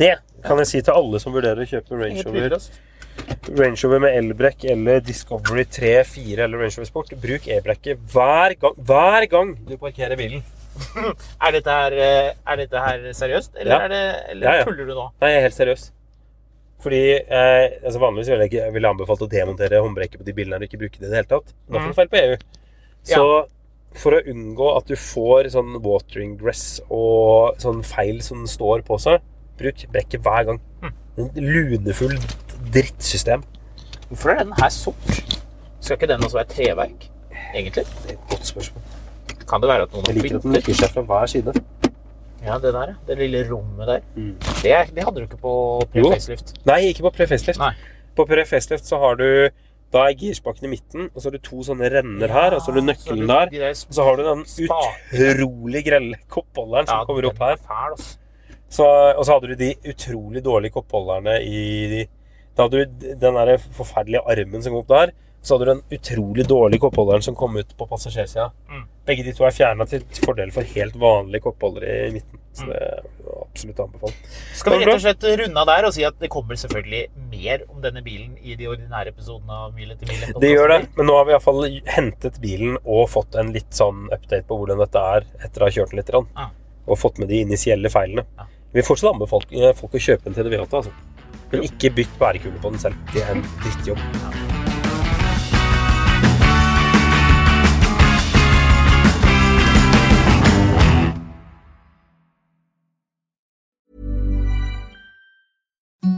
Speaker 1: Det kan jeg si til alle som vurderer å kjøpe Range
Speaker 2: Helt
Speaker 1: Rover.
Speaker 2: lydløst.
Speaker 1: Range Rover med elbrekk eller Discovery 3, 4 eller Range Rover Sport. Bruk elbrekket hver gang, hver gang du parkerer bilen.
Speaker 2: Er dette her, eh, er dette her seriøst, eller,
Speaker 1: Ja.
Speaker 2: er det, eller
Speaker 1: Ja, ja.
Speaker 2: tuller du nå?
Speaker 1: Nei, jeg er helt seriøs. Fordi eh, altså vanligvis ville jeg ikke jeg ville anbefalt å demontere håndbrekket på de bilene og ikke bruke det i det hele tatt. Men
Speaker 2: Mm.
Speaker 1: da får du feil på EU. Så for å unngå at du får sånn watering dress og sånn feil som står på seg, bruk brekket hver gang.
Speaker 2: Mm.
Speaker 1: En lunefull drittsystem.
Speaker 2: Hvorfor er den her sort? Skal ikke den også være treverk, egentlig?
Speaker 1: Det er et godt spørsmål.
Speaker 2: Kan det være at noen
Speaker 1: Jeg
Speaker 2: har
Speaker 1: liker at den
Speaker 2: flyttet?
Speaker 1: lukker seg fra hver side.
Speaker 2: Ja, det der, ja. det lille rommet der.
Speaker 1: Mm.
Speaker 2: Det, er, det hadde du ikke på
Speaker 1: Jo.
Speaker 2: pre-facelift.
Speaker 1: Nei, ikke på pre-facelift.
Speaker 2: Nei.
Speaker 1: På pre-facelift så har du da er girspaken i midten, og så har du to sånne renner her, og så har du
Speaker 2: så sånn har du
Speaker 1: nøkkelen der.
Speaker 2: de der
Speaker 1: Og så har du den
Speaker 2: spakene.
Speaker 1: utrolig grelle koppholderen som
Speaker 2: Ja,
Speaker 1: kommer opp
Speaker 2: den er
Speaker 1: her.
Speaker 2: Fæl, altså. ass.
Speaker 1: Så, og så hadde du de utrolig dårlige koppholderne i Da hadde du den der forferdelige armen som kom opp der. Så hadde du den utrolig dårlige koppholderen som kom ut på passasjersida.
Speaker 2: Mm.
Speaker 1: Begge de to er fjerna til til fordel for helt vanlige koppholdere i midten. Så det er absolutt anbefalt.
Speaker 2: Mm. Skal vi rett og slett runde av der og si at det kommer selvfølgelig mer om denne bilen i de ordinære episodene av Mile til Mile?
Speaker 1: Det gjør det, men nå har vi iallfall hentet bilen og fått en litt sånn update på hvordan dette er etter å ha kjørt den litt. grann.
Speaker 2: Ja.
Speaker 1: Og fått med de initielle feilene.
Speaker 2: Ja.
Speaker 1: Vi fortsatt anbefaler eh, folk å kjøpe en TDV8, altså. Men ikke bytt bærekule på den selv. Det er en drittjobb.